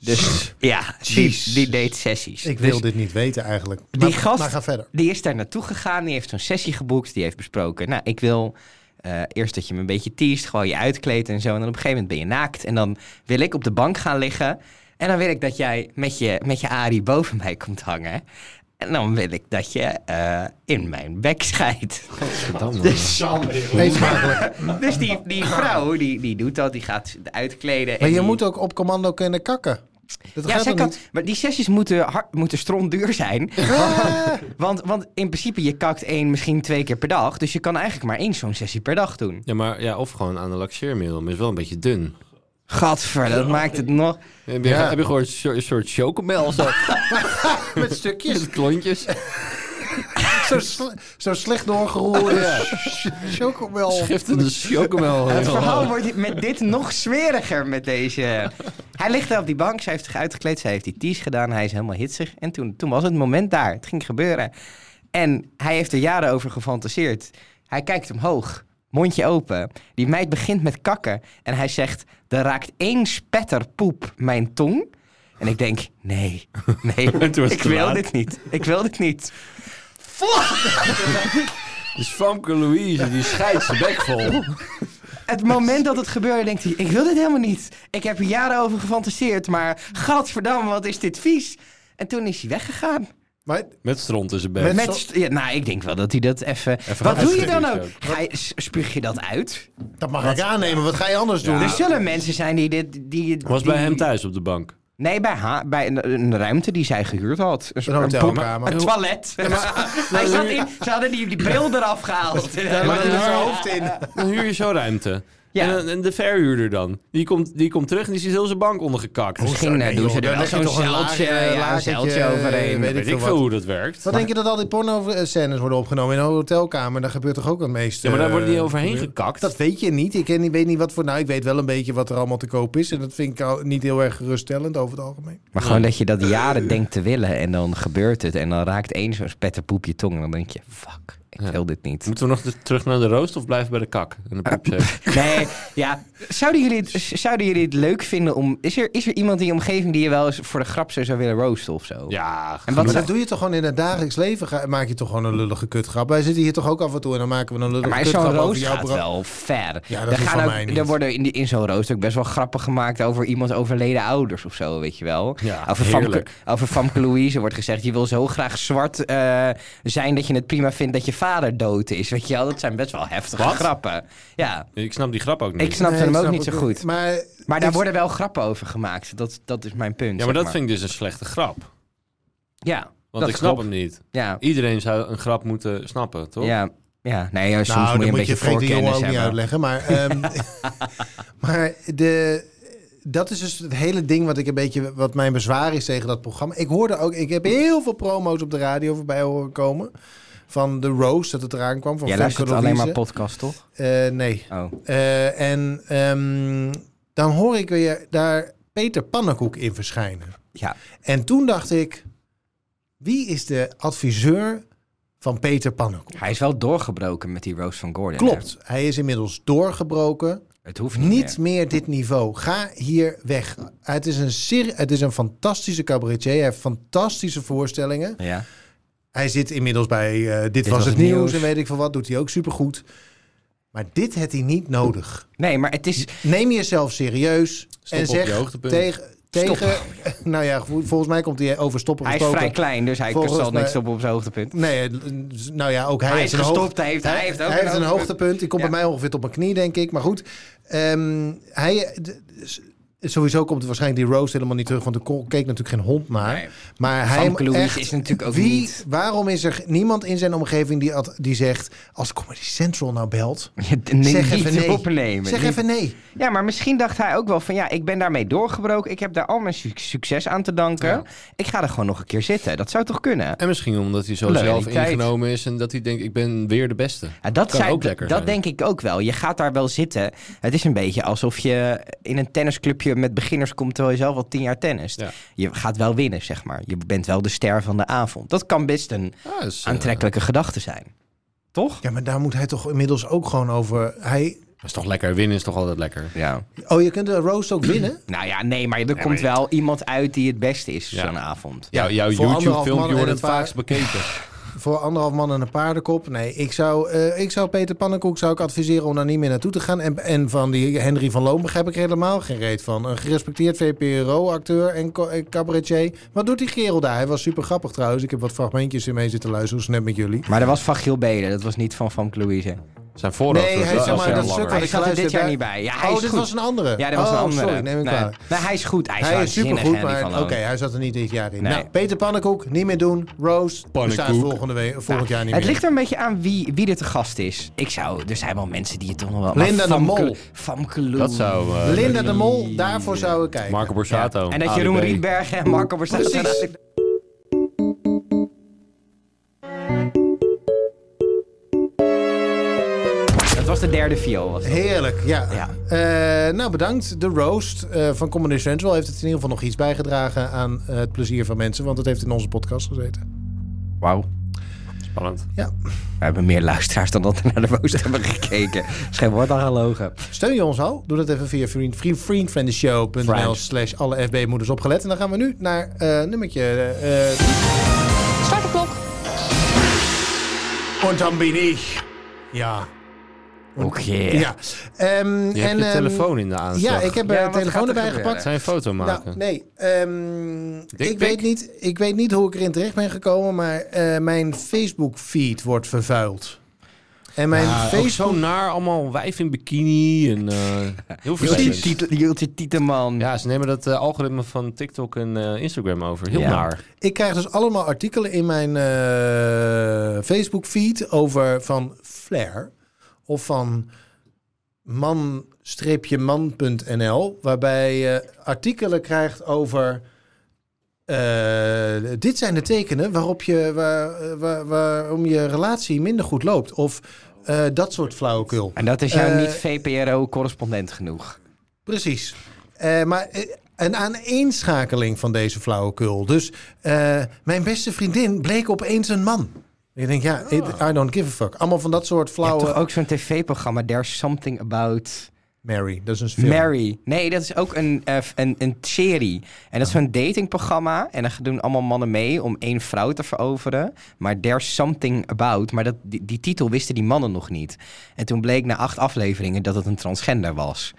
Dus ja, die, Jezus. die deed sessies. Ik wil Dus dit niet weten eigenlijk. Die maar, gast- Maar ga verder. die is daar naartoe gegaan, die heeft zo'n sessie geboekt, die heeft besproken. Nou, ik wil eh, eerst dat je me een beetje teest, gewoon je uitkleedt en zo. En dan op een gegeven moment ben je naakt en dan wil ik op de bank gaan liggen. En dan wil ik dat jij met je, met je Ari boven mij komt hangen. En dan wil ik dat je eh, in mijn bek scheidt. Dus, Nee, smakelijk. dus die, die vrouw, die, die doet dat, die gaat uitkleden. en Maar je die- moet ook op commando kunnen kakken. Dat ja, gaat zij toch kan, niet? maar die sessies moeten, hard, moeten strondduur zijn. want, want in principe, je kakt één, misschien twee keer per dag. Dus je kan eigenlijk maar één zo'n sessie per dag doen. Ja, maar ja, of gewoon aan de laxeermiddel, maar is wel een beetje dun. Gadver, dat maakt het nog... Heb je, Ja. heb je gewoon een soort- een soort chocomel zo? Met stukjes. Met klontjes. zo, sle- zo slecht doorgeroerde chocomel. Giftende chocomel. Het verhaal wordt met dit nog zweriger met deze. Hij ligt daar op die bank, zij heeft zich uitgekleed, zij heeft die tease gedaan, hij is helemaal hitsig. En toen, toen was het moment daar, het ging gebeuren. En hij heeft er jaren over gefantaseerd. Hij kijkt omhoog, mondje open. Die meid begint met kakken en hij zegt, er raakt één spetter poep mijn tong. En ik denk, nee, nee, En toen was het ik te wil laat. dit niet, ik wil dit niet. Dus Famke Louise, die scheidt zijn bek vol. Het moment dat het gebeurde, denkt hij: Ik wil dit helemaal niet. Ik heb er jaren over gefantaseerd, maar gadverdamme, wat is dit vies? En toen is hij weggegaan. Maar Met stront in zijn bek. Met- Met, st- ja, nou, ik denk wel dat hij dat even. Even Wat gaan doe je dan ook? uitschudden, Ga je, s- spuug je dat uit? dat mag ik aannemen. Wat ga je anders doen? Dus Er zullen mensen zijn die dit. Die, Was die- bij hem thuis op de bank. Nee, bij, haar, bij een, een ruimte die zij gehuurd had. Een, soort- hotelkamer. Een toilet. Hij zat in, ze hadden die, die bril eraf gehaald. maar in haar hoofd in. Dan huur je zo ruimte. Ja. En, dan- en de verhuurder dan. Die komt, die komt terug en die ziet heel zijn bank ondergekakt. Misschien eh, nee, doen joh, ze dan er wel leg je zo'n toch een zeiltje, laagje- ja, een laagje, zeiltje overheen. weet Weet ik veel veel wat. hoe dat werkt. Wat denk je dat al die porno-scènes worden opgenomen in een hotelkamer? Daar gebeurt toch ook het meeste? Ja, maar daar wordt niet eh, overheen gebeuren? gekakt. Dat weet je niet. Ik ken niet- weet niet wat voor. Nou, ik weet wel een beetje wat er allemaal te koop is. En dat vind ik al niet heel erg geruststellend over het algemeen. Maar gewoon dat je dat jaren denkt te willen en dan gebeurt het. En dan raakt één zo'n spetterpoep je tong en dan denk je, fuck. ik wil dit niet. Moeten we nog de- terug naar de roost of blijven bij de kak? En de poepsec? Nee, ja. Zouden jullie, het, zouden jullie het leuk vinden om... Is er, is er iemand in je omgeving die je wel eens voor de grap zo zou willen roosten of zo? ja, En Maar wat dat doe je toch gewoon in het dagelijks leven? Ga- Maak je toch gewoon een lullige kutgrap? Wij zitten hier toch ook af en toe en dan maken we een lullige Maar is zo'n kutgrap over roost jouw gaat bro- wel ver. Ja, dat Er gaan is van ook- mij niet. Er worden in, die- in zo'n roost ook best wel grappen gemaakt over iemands overleden ouders of zo, weet je wel. Ja, over, Famke, heerlijk. over Famke Louise wordt gezegd, je wil zo graag zwart eh, zijn dat je het prima vindt dat je vader dood is. Weet je wel, dat zijn best wel heftige Wat? grappen. Ja, ik snap die grap ook niet. ik snapte Nee, ik hem ook snap niet zo het goed. Maar, Maar daar ik- worden wel grappen over gemaakt. Dat, dat is mijn punt. ja, maar dat vind ik dus een slechte grap. Ja, Want dat ik snap klopt. hem niet. Ja, Iedereen zou een grap moeten snappen, toch? ja, ja. Nee, ja, soms Nou, moet dan je een moet je beetje Freek de Jonge voorkennis ook niet hebben. uitleggen. Maar, ehm, maar de, dat is dus het hele ding wat ik een beetje wat mijn bezwaar is tegen dat programma. Ik hoorde ook, ik heb heel veel promo's op de radio voorbij horen komen. Van de Rose dat het eraan kwam. Van Jij Femke luistert alleen maar Louise. podcast, toch? Eh, nee. Oh. Eh, en ehm, dan hoor ik weer daar Peter Pannenkoek in verschijnen. Ja. En toen dacht ik, wie is de adviseur van Peter Pannenkoek? Hij is wel doorgebroken met die Rose van Gordon. hè? Klopt, hij is inmiddels doorgebroken. Het hoeft niet. Niet meer. meer dit niveau. Ga hier weg. Het is een, ser- het is een fantastische cabaretier. Hij heeft fantastische voorstellingen. Ja. Hij zit inmiddels bij eh, Dit, Was, Het nieuws. en weet ik veel wat. Doet hij ook supergoed. Maar dit had hij niet nodig. Nee, maar het is. Neem jezelf serieus. Stop en op zeg je hoogtepunt. tegen... tegen nou ja, vo- volgens mij komt hij over stoppen Hij is gesproken. vrij klein, dus hij Volgens zal mij- niks stoppen op zijn hoogtepunt. Nee, eh, nou ja, ook hij, Hij heeft is een hoog- gestopt, hij heeft- hij heeft ook hij een heeft een hoogtepunt. hoogtepunt. Die komt Ja. bij mij ongeveer tot mijn knie, denk ik. Maar goed, ehm, hij, d- s- sowieso komt er waarschijnlijk die Rose helemaal niet terug, want er ko- keek natuurlijk geen hond naar. Nee. Maar hij Famke Louise echt, is natuurlijk ook wie, niet- Waarom is er niemand in zijn omgeving die, ad- die zegt, als Comedy Central nou belt, Ja, d- nee, zeg niet even nee. opnemen. Zeg Niet- even nee. Ja, maar misschien dacht hij ook wel van ja, ik ben daarmee doorgebroken. Ik heb daar al mijn su- succes aan te danken. Ja. Ik ga er gewoon nog een keer zitten. Dat zou toch kunnen? En misschien omdat hij zo zelf Loyaliteit. ingenomen is en dat hij denkt, ik ben weer de beste. Ja, dat Kan zei- ook lekker dat zijn. denk ik ook wel. Je gaat daar wel zitten. Het is een beetje alsof je in een tennisclubje met beginners komt terwijl je zelf al tien jaar tennist. Ja. Je gaat wel winnen, zeg maar. Je bent wel de ster van de avond. Dat kan best een Ja, dat is, eh, aantrekkelijke gedachte zijn. Toch? Ja, maar daar moet hij toch inmiddels ook gewoon over. Hij, dat is toch lekker, winnen is toch altijd lekker. Ja. oh, je kunt de Rose ook winnen? Nou ja, nee, maar er maar komt je- wel iemand uit die het beste is Ja. zo'n avond. Ja, jouw voor anderhalf man YouTube-filmpje en wordt een het paar- vaakst bekeken. voor anderhalf man en een paardenkop. Nee, ik zou, eh, ik zou Peter Pannenkoek zou ik adviseren om daar niet meer naartoe te gaan. En, en van die Henry van Loon begrijp ik helemaal geen reet van. Een gerespecteerd VPRO-acteur en co- eh, cabaretier. Wat doet die kerel daar? Hij was super grappig trouwens. Ik heb wat fragmentjes in mee zitten luisteren, zo net met jullie. Maar dat was van Giel Belen, dat was niet van Famke Louise. Zijn voorhoofd Nee, was hij wel zei maar, veel dat langer. stuk wat Hij ik zat Oh, er geluisterd dit jaar heb- niet bij. Ja, hij Oh, is dit goed. was een andere. Ja, dat was oh, een andere. sorry, neem ik nee. waar. Nee, hij is goed. Hij is, Hij is waanzinnig, supergoed, Henry maar van oké, Loon. Nou, hij zat er niet dit jaar in. Nee. Nou, Peter Pannenkoek, niet meer doen. Rose, bestaat Pannenkoek. volgende week, volgend jaar niet het meer. ligt er een beetje aan wie, wie er te gast is. Ik zou, er zijn wel mensen die het toch nog wel... Linda maar de Famke- Mol. Famke Lou. Dat zou... eh, Linda de Mol, daarvoor zou ik kijken. Marco Borsato. En dat ADB. Jeroen Rietberg en Marco Borsato... Precies. Dat was de derde viool. was dat. Heerlijk, ja. Ja. Eh, nou, bedankt. De roast eh, van Comedy Central heeft het in ieder geval nog iets bijgedragen aan eh, het plezier van mensen, want het heeft in onze podcast gezeten. Wauw. Spannend. Ja. We hebben meer luisteraars dan dat we naar de rooster hebben gekeken. Is geen woord aan gelogen. Steun je ons al? Doe dat even via vriend, vriend, vriendvriendvandeshow.nl Friend. slash alle FB moeders opgelet. En dan gaan we nu naar eh nummertje... eh, eh Start de klok. Und dann bin ich. Ja. Oké. Ja. Ehm, Je hebt je ehm, telefoon in de aanslag. Ja, ik heb Ja, eh, wat gaat telefoon er erbij gebeuren? gepakt. Zijn je foto maken? Nou, nee. ehm, ik, pic? weet niet, ik weet niet hoe ik erin terecht ben gekomen, maar eh, mijn Facebook-feed wordt vervuild. En mijn Ja, ook zo Facebook... naar, allemaal wijf in bikini en eh, heel Jultje vervelend. Tiet- Jultje Tieteman. Ja, ze nemen dat eh, algoritme van TikTok en eh, Instagram over. Heel Ja. naar. Ik krijg dus allemaal artikelen in mijn eh, Facebook-feed over van Flair of van man-man.nl, waarbij je artikelen krijgt over... eh, dit zijn de tekenen waarop je, waar, eh, waar- waarom je relatie minder goed loopt. Of eh, dat soort flauwekul. En dat is jou Eh, niet VPRO-correspondent genoeg. Precies. Eh, maar eh, een aaneenschakeling van deze flauwekul. Dus eh, mijn beste vriendin bleek opeens een man. Ik denk, ja, it- I don't give a fuck. Allemaal van dat soort Je hebt flauwe... toch ook zo'n tv-programma, There's Something About Mary, dat is een film. Mary. Nee, dat is ook een, eh, f- een, een serie. En Oh. dat is zo'n datingprogramma. En dan doen allemaal mannen mee om één vrouw te veroveren. Maar There's Something About. Maar dat, die, die titel wisten die mannen nog niet. En toen bleek na acht afleveringen dat het een transgender was.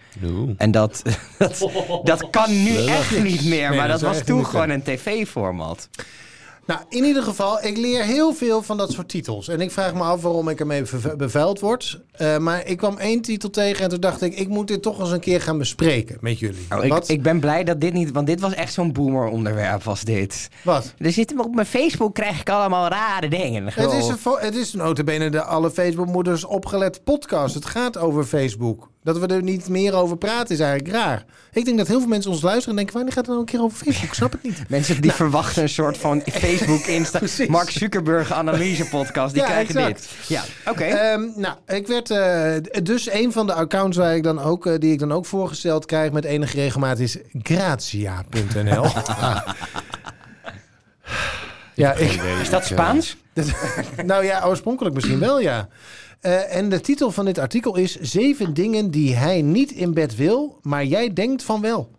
En dat, dat, dat kan nu echt niet meer. Nee, Maar dat dat zou was echt toen niet gewoon een tv-format. Nou, in ieder geval, ik leer heel veel van dat soort titels. En ik vraag me af waarom ik ermee verve- bevuild word. Eh, maar ik kwam één titel tegen en toen dacht ik... ik moet dit toch eens een keer gaan bespreken met jullie. Oh, ik, ik ben blij dat dit niet... Want dit was echt zo'n boomer-onderwerp, was dit. Wat? Er zitten op mijn Facebook krijg ik allemaal rare dingen. Het is, Goh. een, fo- het is notabene de alle Facebookmoeders opgelet podcast. Het gaat over Facebook. Dat we er niet meer over praten is eigenlijk raar. Ik denk dat heel veel mensen ons luisteren en denken... wanneer gaat het nou een keer over Facebook? Ik snap het niet. Mensen die verwachten een soort van Facebook, Insta, Nou. Precies. Mark Zuckerberg analyse podcast. Die Ja, krijgen exact. dit. Ja, oké. Ehm, nou, ik werd eh, dus een van de accounts waar ik dan ook, eh, die ik dan ook voorgesteld krijg met enige regelmaat is gratia.nl. ja, ik, is dat eh, Spaans? nou ja, oorspronkelijk misschien wel, ja. Eh, en de titel van dit artikel is Zeven dingen die hij niet in bed wil, maar jij denkt van wel.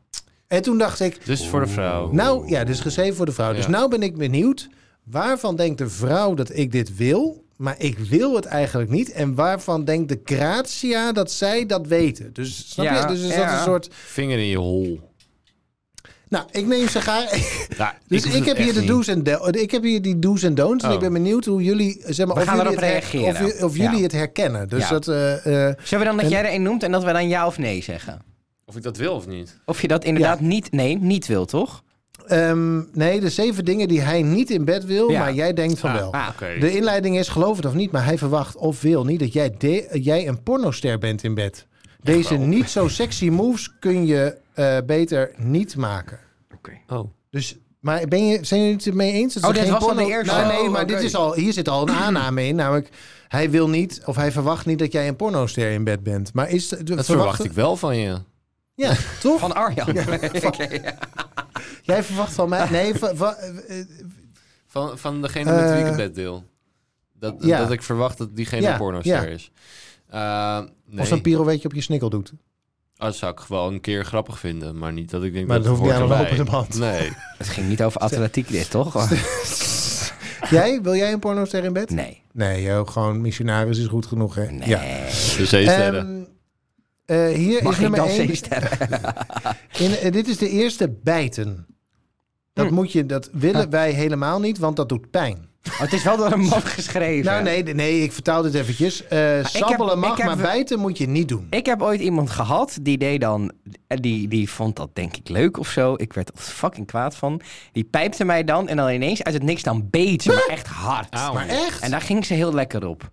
En toen dacht ik, Dus voor de vrouw. nou ja, dus geschreven voor de vrouw. Dus Ja. nou ben ik benieuwd, waarvan denkt de vrouw dat ik dit wil, maar ik wil het eigenlijk niet. En waarvan denkt de gratia dat zij dat weten. Dus snap Ja, je? Dus is dat ja. een soort... Vinger in je hol. Dus Nou, ik neem ze graag... Ja, Dus hoef ik, het heb hier echt de niet. do's en do- ik heb hier die do's en don'ts. En Oh. ik ben benieuwd hoe jullie, zeg maar, We of, gaan jullie erop het her- reageren. of, ju- of jullie Ja. het herkennen. Dus Ja. dat, eh, eh, Zullen we dan dat En- jij er een noemt en dat we dan ja of nee zeggen? Of ik dat wil of niet. Of je dat inderdaad niet, nee, niet wil, toch? ehm, nee, de zeven dingen die hij niet in bed wil, Ja. maar jij denkt van Ah, wel. Ah, Oké. De inleiding is, geloof het of niet, maar hij verwacht of wil niet dat jij, de- jij een pornoster bent in bed. Deze niet zo sexy moves kun je eh, beter niet maken. Oh. Dus, maar ben je, zijn jullie het ermee eens? Dat Oh, er dit geen was al porno- de eerste. Nou, nee, Oh, maar oké. dit is al, hier zit al een aanname in. Namelijk, hij wil niet of hij verwacht niet dat jij een pornoster in bed bent. Maar is de, Dat verwacht ik wel van je. Ja, toch? Van Arjan. Jij verwacht van mij. Nee, va- va- eh, eh, Van, van degene met wie ik het Eh, bed deel. Dat, ja. dat ik verwacht dat diegene Ja, een pornoster ja. is. Eh, nee. of zo'n pirouetje op je snikkel doet. Oh, dat zou ik gewoon een keer grappig vinden. Maar niet dat ik denk Maar dat hoeft niet hoort aan een erbij. lopende band. Nee. Het ging niet over atletiek dit, toch? Jij? Wil jij een pornoster in bed? Nee. Nee, joh, gewoon missionaris is goed genoeg, hè? Nee. Ja. De zeesterren. Ehm, eh, hier Mag is ik nummer dan één. zeven sterren? In, eh, dit is de eerste bijten. Dat, Hm. moet je, dat willen wij helemaal niet, want dat doet pijn. Oh, het is wel door een man geschreven. Nou, nee, nee, ik vertaal dit eventjes. Eh, sabbelen heb- mag, eh, ik heb- maar bijten moet je niet doen. Ik heb ooit iemand gehad die deed dan. en Die, die vond dat denk ik leuk of zo. Ik werd er fucking kwaad van. Die pijpte mij dan en dan ineens uit het niks dan beet ze, maar echt hard. Auw. Ehm, Maar echt? En daar ging ze heel lekker op.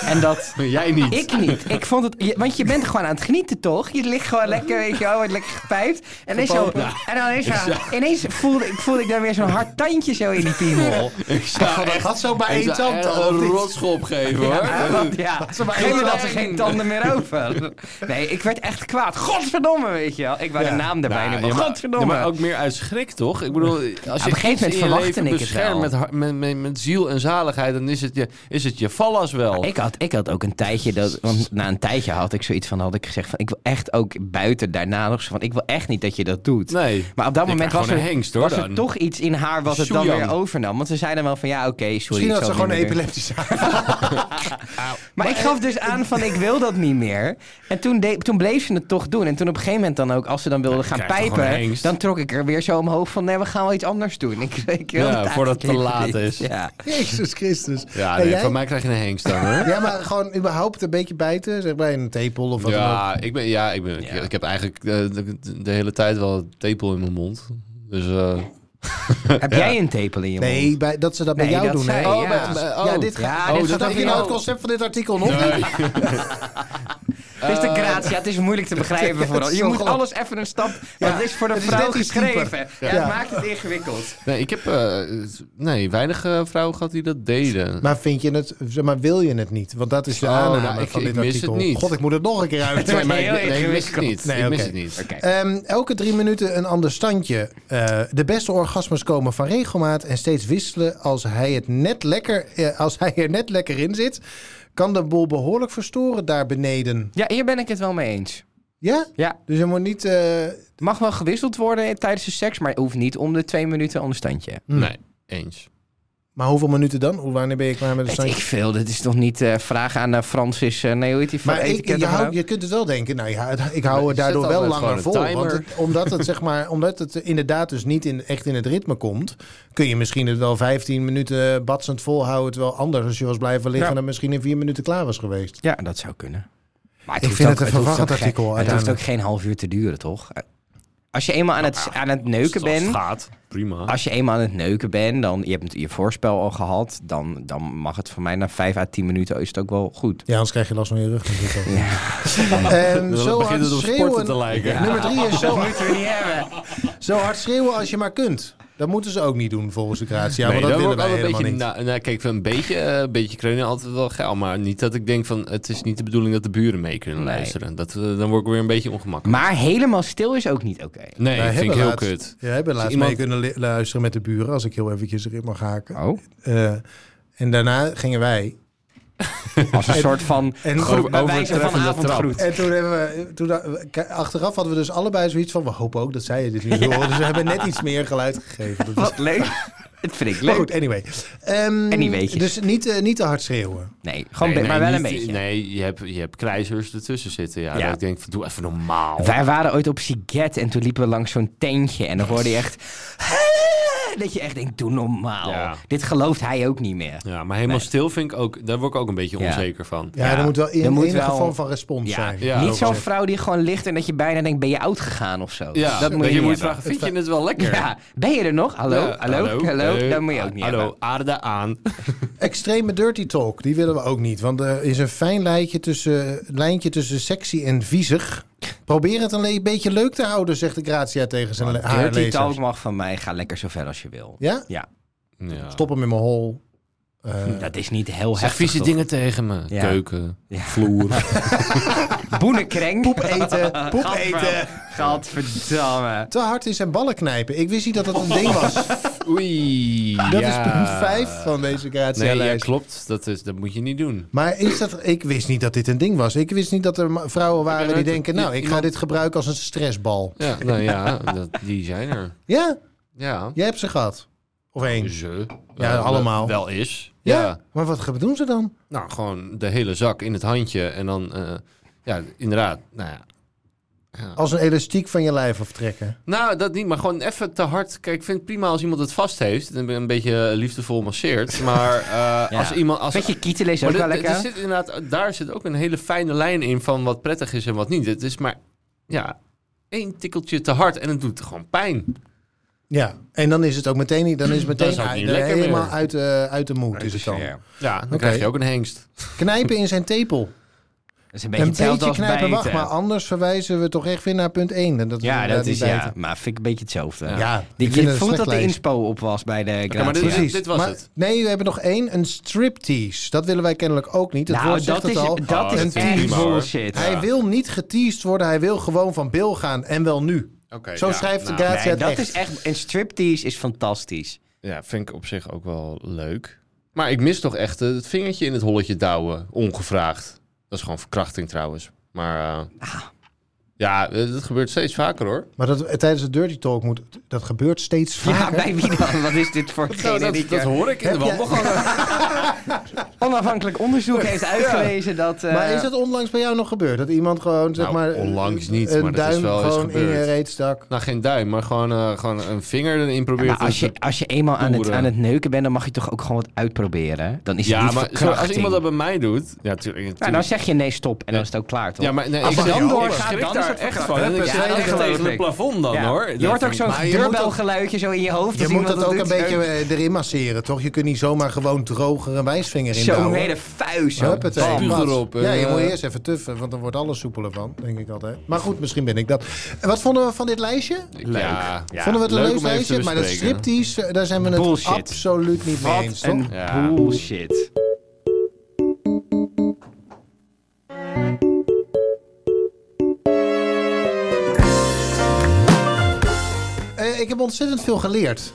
En dat. Jij niet. Ik niet. Ik vond het, je- want je bent gewoon aan het genieten, toch? Je ligt gewoon lekker, weet je wel, wordt lekker gepijpt. En, ineens zo, en dan ineens, zo- ineens voelde, ik, voelde ik dan weer zo'n hard tandje zo in die piemel. Ik zou Oh, dat echt had zo maar ik één zou tand echt al, een of niet? rotschop geven hoor. Ja, want ja, op een gegeven moment had ze tanden. geen tanden meer over. Nee, ik werd echt kwaad. Godverdomme, weet je wel. Ik wou Ja. de naam erbij Nou, noemen. ja, maar- Godverdomme. ja, maar ook meer uit schrik, toch? Ik bedoel, als je op een gegeven moment verwachtte ik het wel. Met, har- met, met, met ziel en zaligheid, dan is het je, is het je vallas wel. Ik had, ik had ook een tijdje dat. Want na een tijdje had ik zoiets van. had ik gezegd van. Ik wil echt ook buiten daarna nog zo van. Ik wil echt niet dat je dat doet. nee. Maar op dat Ik moment ben was er, gewoon een hengst, hoor, was er dan. toch iets in haar wat het dan Soejan. weer overnam. Want ze zeiden wel van ja, oké, sorry. Misschien ik had ze zal gewoon het een niet meer doen. epileptische Maar ik gaf dus aan van ik wil dat niet meer. En toen, de- toen bleef ze het toch doen. En toen op een gegeven moment dan ook, als ze dan wilden gaan krijg je toch gewoon een pijpen, hengst? dan trok ik er weer zo omhoog van nee, we gaan wel iets anders doen. Ik, ik wil Ja, het voordat het te eigenlijk laat niet. is. Ja. Jezus Christus. Ja, En nee, jij? van mij krijg je een hengst dan hoor. Ja, maar gewoon überhaupt een beetje bijten. Zeg bij een tepel of wat dan ook. Ja, ik, ben, ja, ik, ben, ik- Ja. Ik, heb eigenlijk eh, de, de hele tijd wel een tepel in mijn mond. Dus, eh, Heb jij een tepel in je mond? Nee, bij, dat ze dat bij Nee, jou dat doen. hè? Oh, zij, ja. maar het is- ja, dit Ja, gaat... dit oh, gaat dat over je nou jou. het concept van dit artikel nog nee. Het is de gratia, het is moeilijk te begrijpen vooral. Je moet alles even een stap, want het is voor de het is vrouw net iets geschreven. dieper. Ja, Ja. Het maakt het ingewikkeld. Nee, ik heb eh, nee, weinig eh, vrouwen gehad die dat deden. Maar vind je het, zeg maar wil je het niet? Want dat is de Oh, aanname nou, ik- van ik dit mis artikel. het niet. God, ik moet het nog een keer uit. Het wordt maar ik- heel nee, ik mis het ingewikkeld. niet. Nee, ik mis oké. het niet. Oké. Ehm, elke drie minuten een ander standje. Eh, de beste orgasmes komen van regelmaat en steeds wisselen als hij, het net lekker, eh, als hij er net lekker in zit. Kan de boel behoorlijk verstoren daar beneden. Ja, hier ben ik het wel mee eens. Ja? Ja. Dus je moet niet... eh, Mag wel gewisseld worden tijdens de seks, maar hoeft niet om de twee minuten aan de standje. Nee, eens. maar hoeveel minuten dan? Hoe, wanneer ben je klaar met het Weet ik standje? veel, dit is toch niet eh vraag aan eh, Francis, eh, nee hoe heet die van Maar ik, je, etiketten houdt- vrouw? je kunt het wel denken, nou ja, het- ik Maar hou je het daardoor zet wel altijd langer gewoon een vol. Want timer. het- omdat, het, zeg maar, omdat het inderdaad dus niet in, echt in het ritme komt, kun je misschien het wel 15 minuten batsend volhouden. Terwijl anders, als je was blijven liggen, Ja. dan misschien in vier minuten klaar was geweest. Ja, dat zou kunnen. Maar Ik hoeft vind ook- het een hoeft verwarrend ook geen- artikel, Het hoeft ook uiteindelijk. geen half uur te duren, toch? Eh, Als je eenmaal aan het, aan het Als neuken het- als het bent... gaat, prima. Als je eenmaal aan het neuken bent, dan, je hebt je voorspel al gehad, dan, dan mag het voor mij na 5 à 10 minuten is het ook wel goed. Ja, anders krijg je last van je rug. natuurlijk ook. Ja. Ehm, Dan zo begint hard het op sporten te schreeuwen. lijken. Nummer drie is zo, moeten we niet hebben. zo hard schreeuwen als je maar kunt. Dat moeten ze ook niet doen volgens de Gratia. nee, want dat daar willen word ik wij ook een helemaal beetje... niet. Nou, nou, kijk, een beetje, eh, een beetje kreunen altijd wel geil. Maar niet dat ik denk van... Het is niet de bedoeling dat de buren mee kunnen Nee. luisteren. Dat, eh, dan word ik weer een beetje ongemakkelijk. Maar helemaal stil is ook niet oké. Nee, Wij dat vind ik hebben laatst- heel kut. Ja, hebben laatst iemand- mee kunnen li- luisteren met de buren, als ik heel eventjes erin mag haken. Oh, Eh, en daarna gingen wij. als een soort van En, groep, bij over- wijze van overtreffende avondgroet. en toen hebben we, toen, da- k- achteraf hadden we dus allebei zoiets van, we hopen ook dat zij dit niet horen. Dus we hebben net iets meer geluid gegeven. Dat is- Wat leuk. Het vind ik maar leuk. goed, anyway. Ehm, En die weetjes. Dus niet, eh, niet te hard schreeuwen. Nee, gewoon Nee, be- maar nee, wel een niet- beetje. Nee, je hebt, je hebt krijzers ertussen zitten. Ja, Ja. Dat ik denk van, doe even normaal. Wij waren ooit op Siget en toen liepen we langs zo'n tentje en dan hoorde je echt... Dat je echt denkt, doe normaal. Ja. Dit gelooft hij ook niet meer. Ja, maar helemaal stil vind ik ook... Daar word ik ook een beetje Ja. onzeker van. Ja, Ja, er moet wel er in, moet enige wel- vorm van respons Ja, zijn. ja. niet zo'n vrouw die gewoon ligt en dat je bijna denkt, ben je oud gegaan of zo? Ja, dat moet je, je niet moet hebben. vragen, vind je het wel lekker? Ja, ben je er nog? Hallo, Ja, hallo, hallo, Eh, dat moet je ook niet Hallo, hebben. aarde aan. Extreme dirty talk, die willen we ook niet. Want er is een fijn lijntje tussen, lijntje tussen sexy en viezig. Probeer het een le- beetje leuk te houden, zegt de Gratia tegen zijn le- haar Dirty lezers. talk mag van mij, ga lekker zo ver als je wil. Ja? Ja, Ja. Stop hem in mijn hol. Eh, dat is niet heel Zeg heftig. vieze toch? dingen tegen me. Ja. Keuken, Ja. vloer. Boenenkrenk. Poep eten, poep eten. Gadverdamme. Te hard in zijn ballen knijpen. Ik wist niet dat dat een ding was. Oei. Dat ja. is punt 5 van deze Nee, ja, gratia-lijst. klopt. Dat, is, dat moet je niet doen. maar is dat, ik wist niet dat dit een ding was. Ik wist niet dat er ma- vrouwen waren die nooit- denken... nou, i- ik ga iemand- dit gebruiken als een stressbal. Ja, nou ja, dat, die zijn er. Ja, Ja. jij hebt ze gehad. Of één. Ze. eh, Ja, Wel- allemaal. Wel is. Ja, Ja. maar wat ge- doen ze dan? Nou, gewoon de hele zak in het handje. En dan, eh, ja, inderdaad. Nou, ja. Als een elastiek van je lijf aftrekken. nou, dat niet. Maar gewoon even te hard. Kijk, ik vind het prima als iemand het vast heeft. En een beetje liefdevol masseert. Maar eh, als iemand... Als, Beetje kietelen is ook Maar wel dit- dit- lekker. er zit inderdaad, daar zit ook een hele fijne lijn in van wat prettig is en wat niet. Het is maar ja, één tikkeltje te hard en het doet gewoon pijn. Ja, en dan is het ook meteen niet... Dan is het meteen is ook niet uit- lekker helemaal meer. dus uit, de uit de moed is het dan. Ja. Ja, dan Oké. krijg je ook een hengst. Knijpen in zijn tepel. Dat is een beetje een hetzelfde beetje als knijpen, wacht. bijten. Maar anders verwijzen we toch echt weer naar punt 1. En dat Ja, dat inderdaad is niet ja. bijten. Maar vind ik een beetje hetzelfde. Ja, Die, ik vind je het een voelt slecht dat de lijstje. inspo op was bij de maar dit- gratie. Precies. dit was Maar- het. Nee, we hebben nog één. Een striptease. Dat willen wij kennelijk ook niet. Het Nou, woord zegt dat het is, al. dat Oh, is een dat is echt prima, hoor. bullshit. Hij wil niet geteased worden. Hij wil gewoon van Bill gaan. En wel nu. Oké. nou. Zo schrijft de Gratia Nee, het dat echt. is echt... Een striptease is fantastisch. Ja, vind ik op zich ook wel leuk. Maar ik mis toch echt eh, het vingertje in het holletje douwen, ongevraagd. Dat is gewoon verkrachting trouwens. Maar eh, Ah. ja, eh, dat gebeurt steeds vaker hoor. Maar dat, tijdens de Dirty Talk moet... Dat gebeurt steeds Ja, vaker. bij wie dan? Wat is dit voor Nou, dat, dat generieke... hoor ik in de Heb wandelgang. Onafhankelijk onderzoek heeft uitgelezen dat... eh, maar is dat onlangs bij jou nog gebeurd? Dat iemand gewoon, zeg Nou, maar... onlangs niet, Een maar dat is duim wel eens gewoon in je gebeurd. reet stak. Nou, geen duim, maar gewoon, eh, gewoon een vinger erin proberen Maar als te je, als je eenmaal aan het, toeren. aan het neuken bent, dan mag je toch ook gewoon wat uitproberen? Dan is het Ja, niet maar zo, als verkrachting. iemand dat bij mij doet... Ja, tuurlijk. Nou, dan tuurlijk. zeg je nee, stop. En dan is het ook klaar, toch? Ja, Ah, maar nee, Als ik het schrik- dan ik doorgaat, schrik dan is daar het echt verkracht. van. En ik Huppakee, zit dat echt geloof tegen het ik. plafond dan, Ja. hoor. Je hoort ook zo'n Maar je moet deurbelgeluidje zo in je hoofd. Je als moet iemand dat ook doet. een beetje eh, erin masseren, toch? Je kunt niet zomaar gewoon droger een wijsvinger in Zo Gewoon een vouwen. hele vuist. zo. Huppatee. Bam. Spuug Bats. erop, hè. Ja, je moet eerst even tuffen, want dan wordt alles soepeler van, denk ik altijd. Maar goed, misschien ben ik dat. En wat vonden we van dit lijstje? Leuk. Ja, vonden we het leuk een om leuk even te lijstje, maar dat bespreken. striptease, eh, daar zijn we het Bullshit. absoluut niet mee eens, Wat toch? een Ja. bullshit. Eh, ik heb ontzettend veel geleerd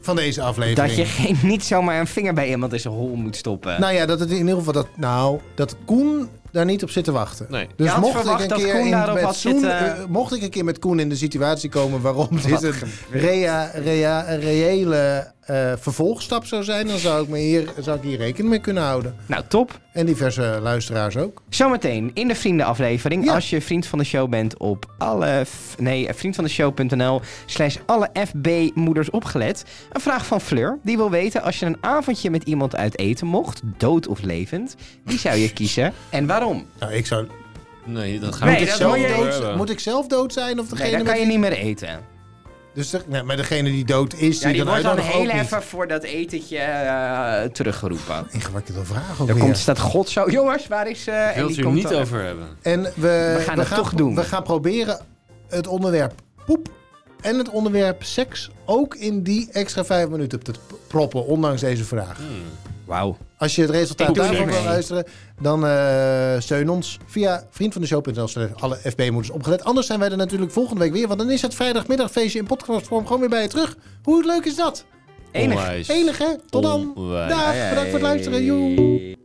van deze aflevering. Dat je geen, niet zomaar een vinger bij iemand in zijn hol moet stoppen. Nou ja, dat het in ieder geval dat, nou, dat Koen daar niet op zit te wachten. Nee. Dus Je had mocht ik verwacht een dat keer Koen in, daarop met had Zoen, zitten- eh, mocht ik een keer met Koen in de situatie komen waarom dit een rea, rea, een reële eh, vervolgstap zou zijn, dan zou ik, me hier, zou ik hier rekening mee kunnen houden. nou top. En diverse luisteraars ook. Zometeen in de vriendenaflevering. Ja. Als je vriend van de show bent op alle... f- Nee, eh, vriendvandeshow.nl slash alle FB moeders opgelet. Een vraag van Fleur. Die wil weten als je een avondje met iemand uit eten mocht, dood of levend. Wie zou je kiezen en waarom? Nou, ik zou, Nee, dat gaat Nee, niet dat zo moet je- gebeuren. dood, moet ik zelf dood zijn of degene Nee, dan met kan je wie- niet meer eten. Dus de- nee, maar degene die dood is, Ja, die dan wordt dan uitnodigt heel ook niet. even voor dat etentje eh, teruggeroepen. Ingewikkelde vraag ook Dan weer. komt staat God zo. Jongens, waar is... eh Ik wil het hier komt niet dan- over hebben. En we, we gaan het toch doen. We gaan proberen het onderwerp poep en het onderwerp seks ook in die extra vijf minuten te p- proppen, ondanks deze vraag. Wauw. Als je het resultaat Ik doe daarvan het wil mee. luisteren, dan eh steun ons via vriendvandeshow.nl. slash Alle FB-moeders opgelet. Anders zijn wij er natuurlijk volgende week weer, want dan is het vrijdagmiddagfeestje in podcastvorm gewoon weer bij je terug. Hoe leuk is dat? Enig. Onwijs. Enig, hè? Tot dan. Onwijs. Dag, bedankt voor het luisteren. Joe. Hey.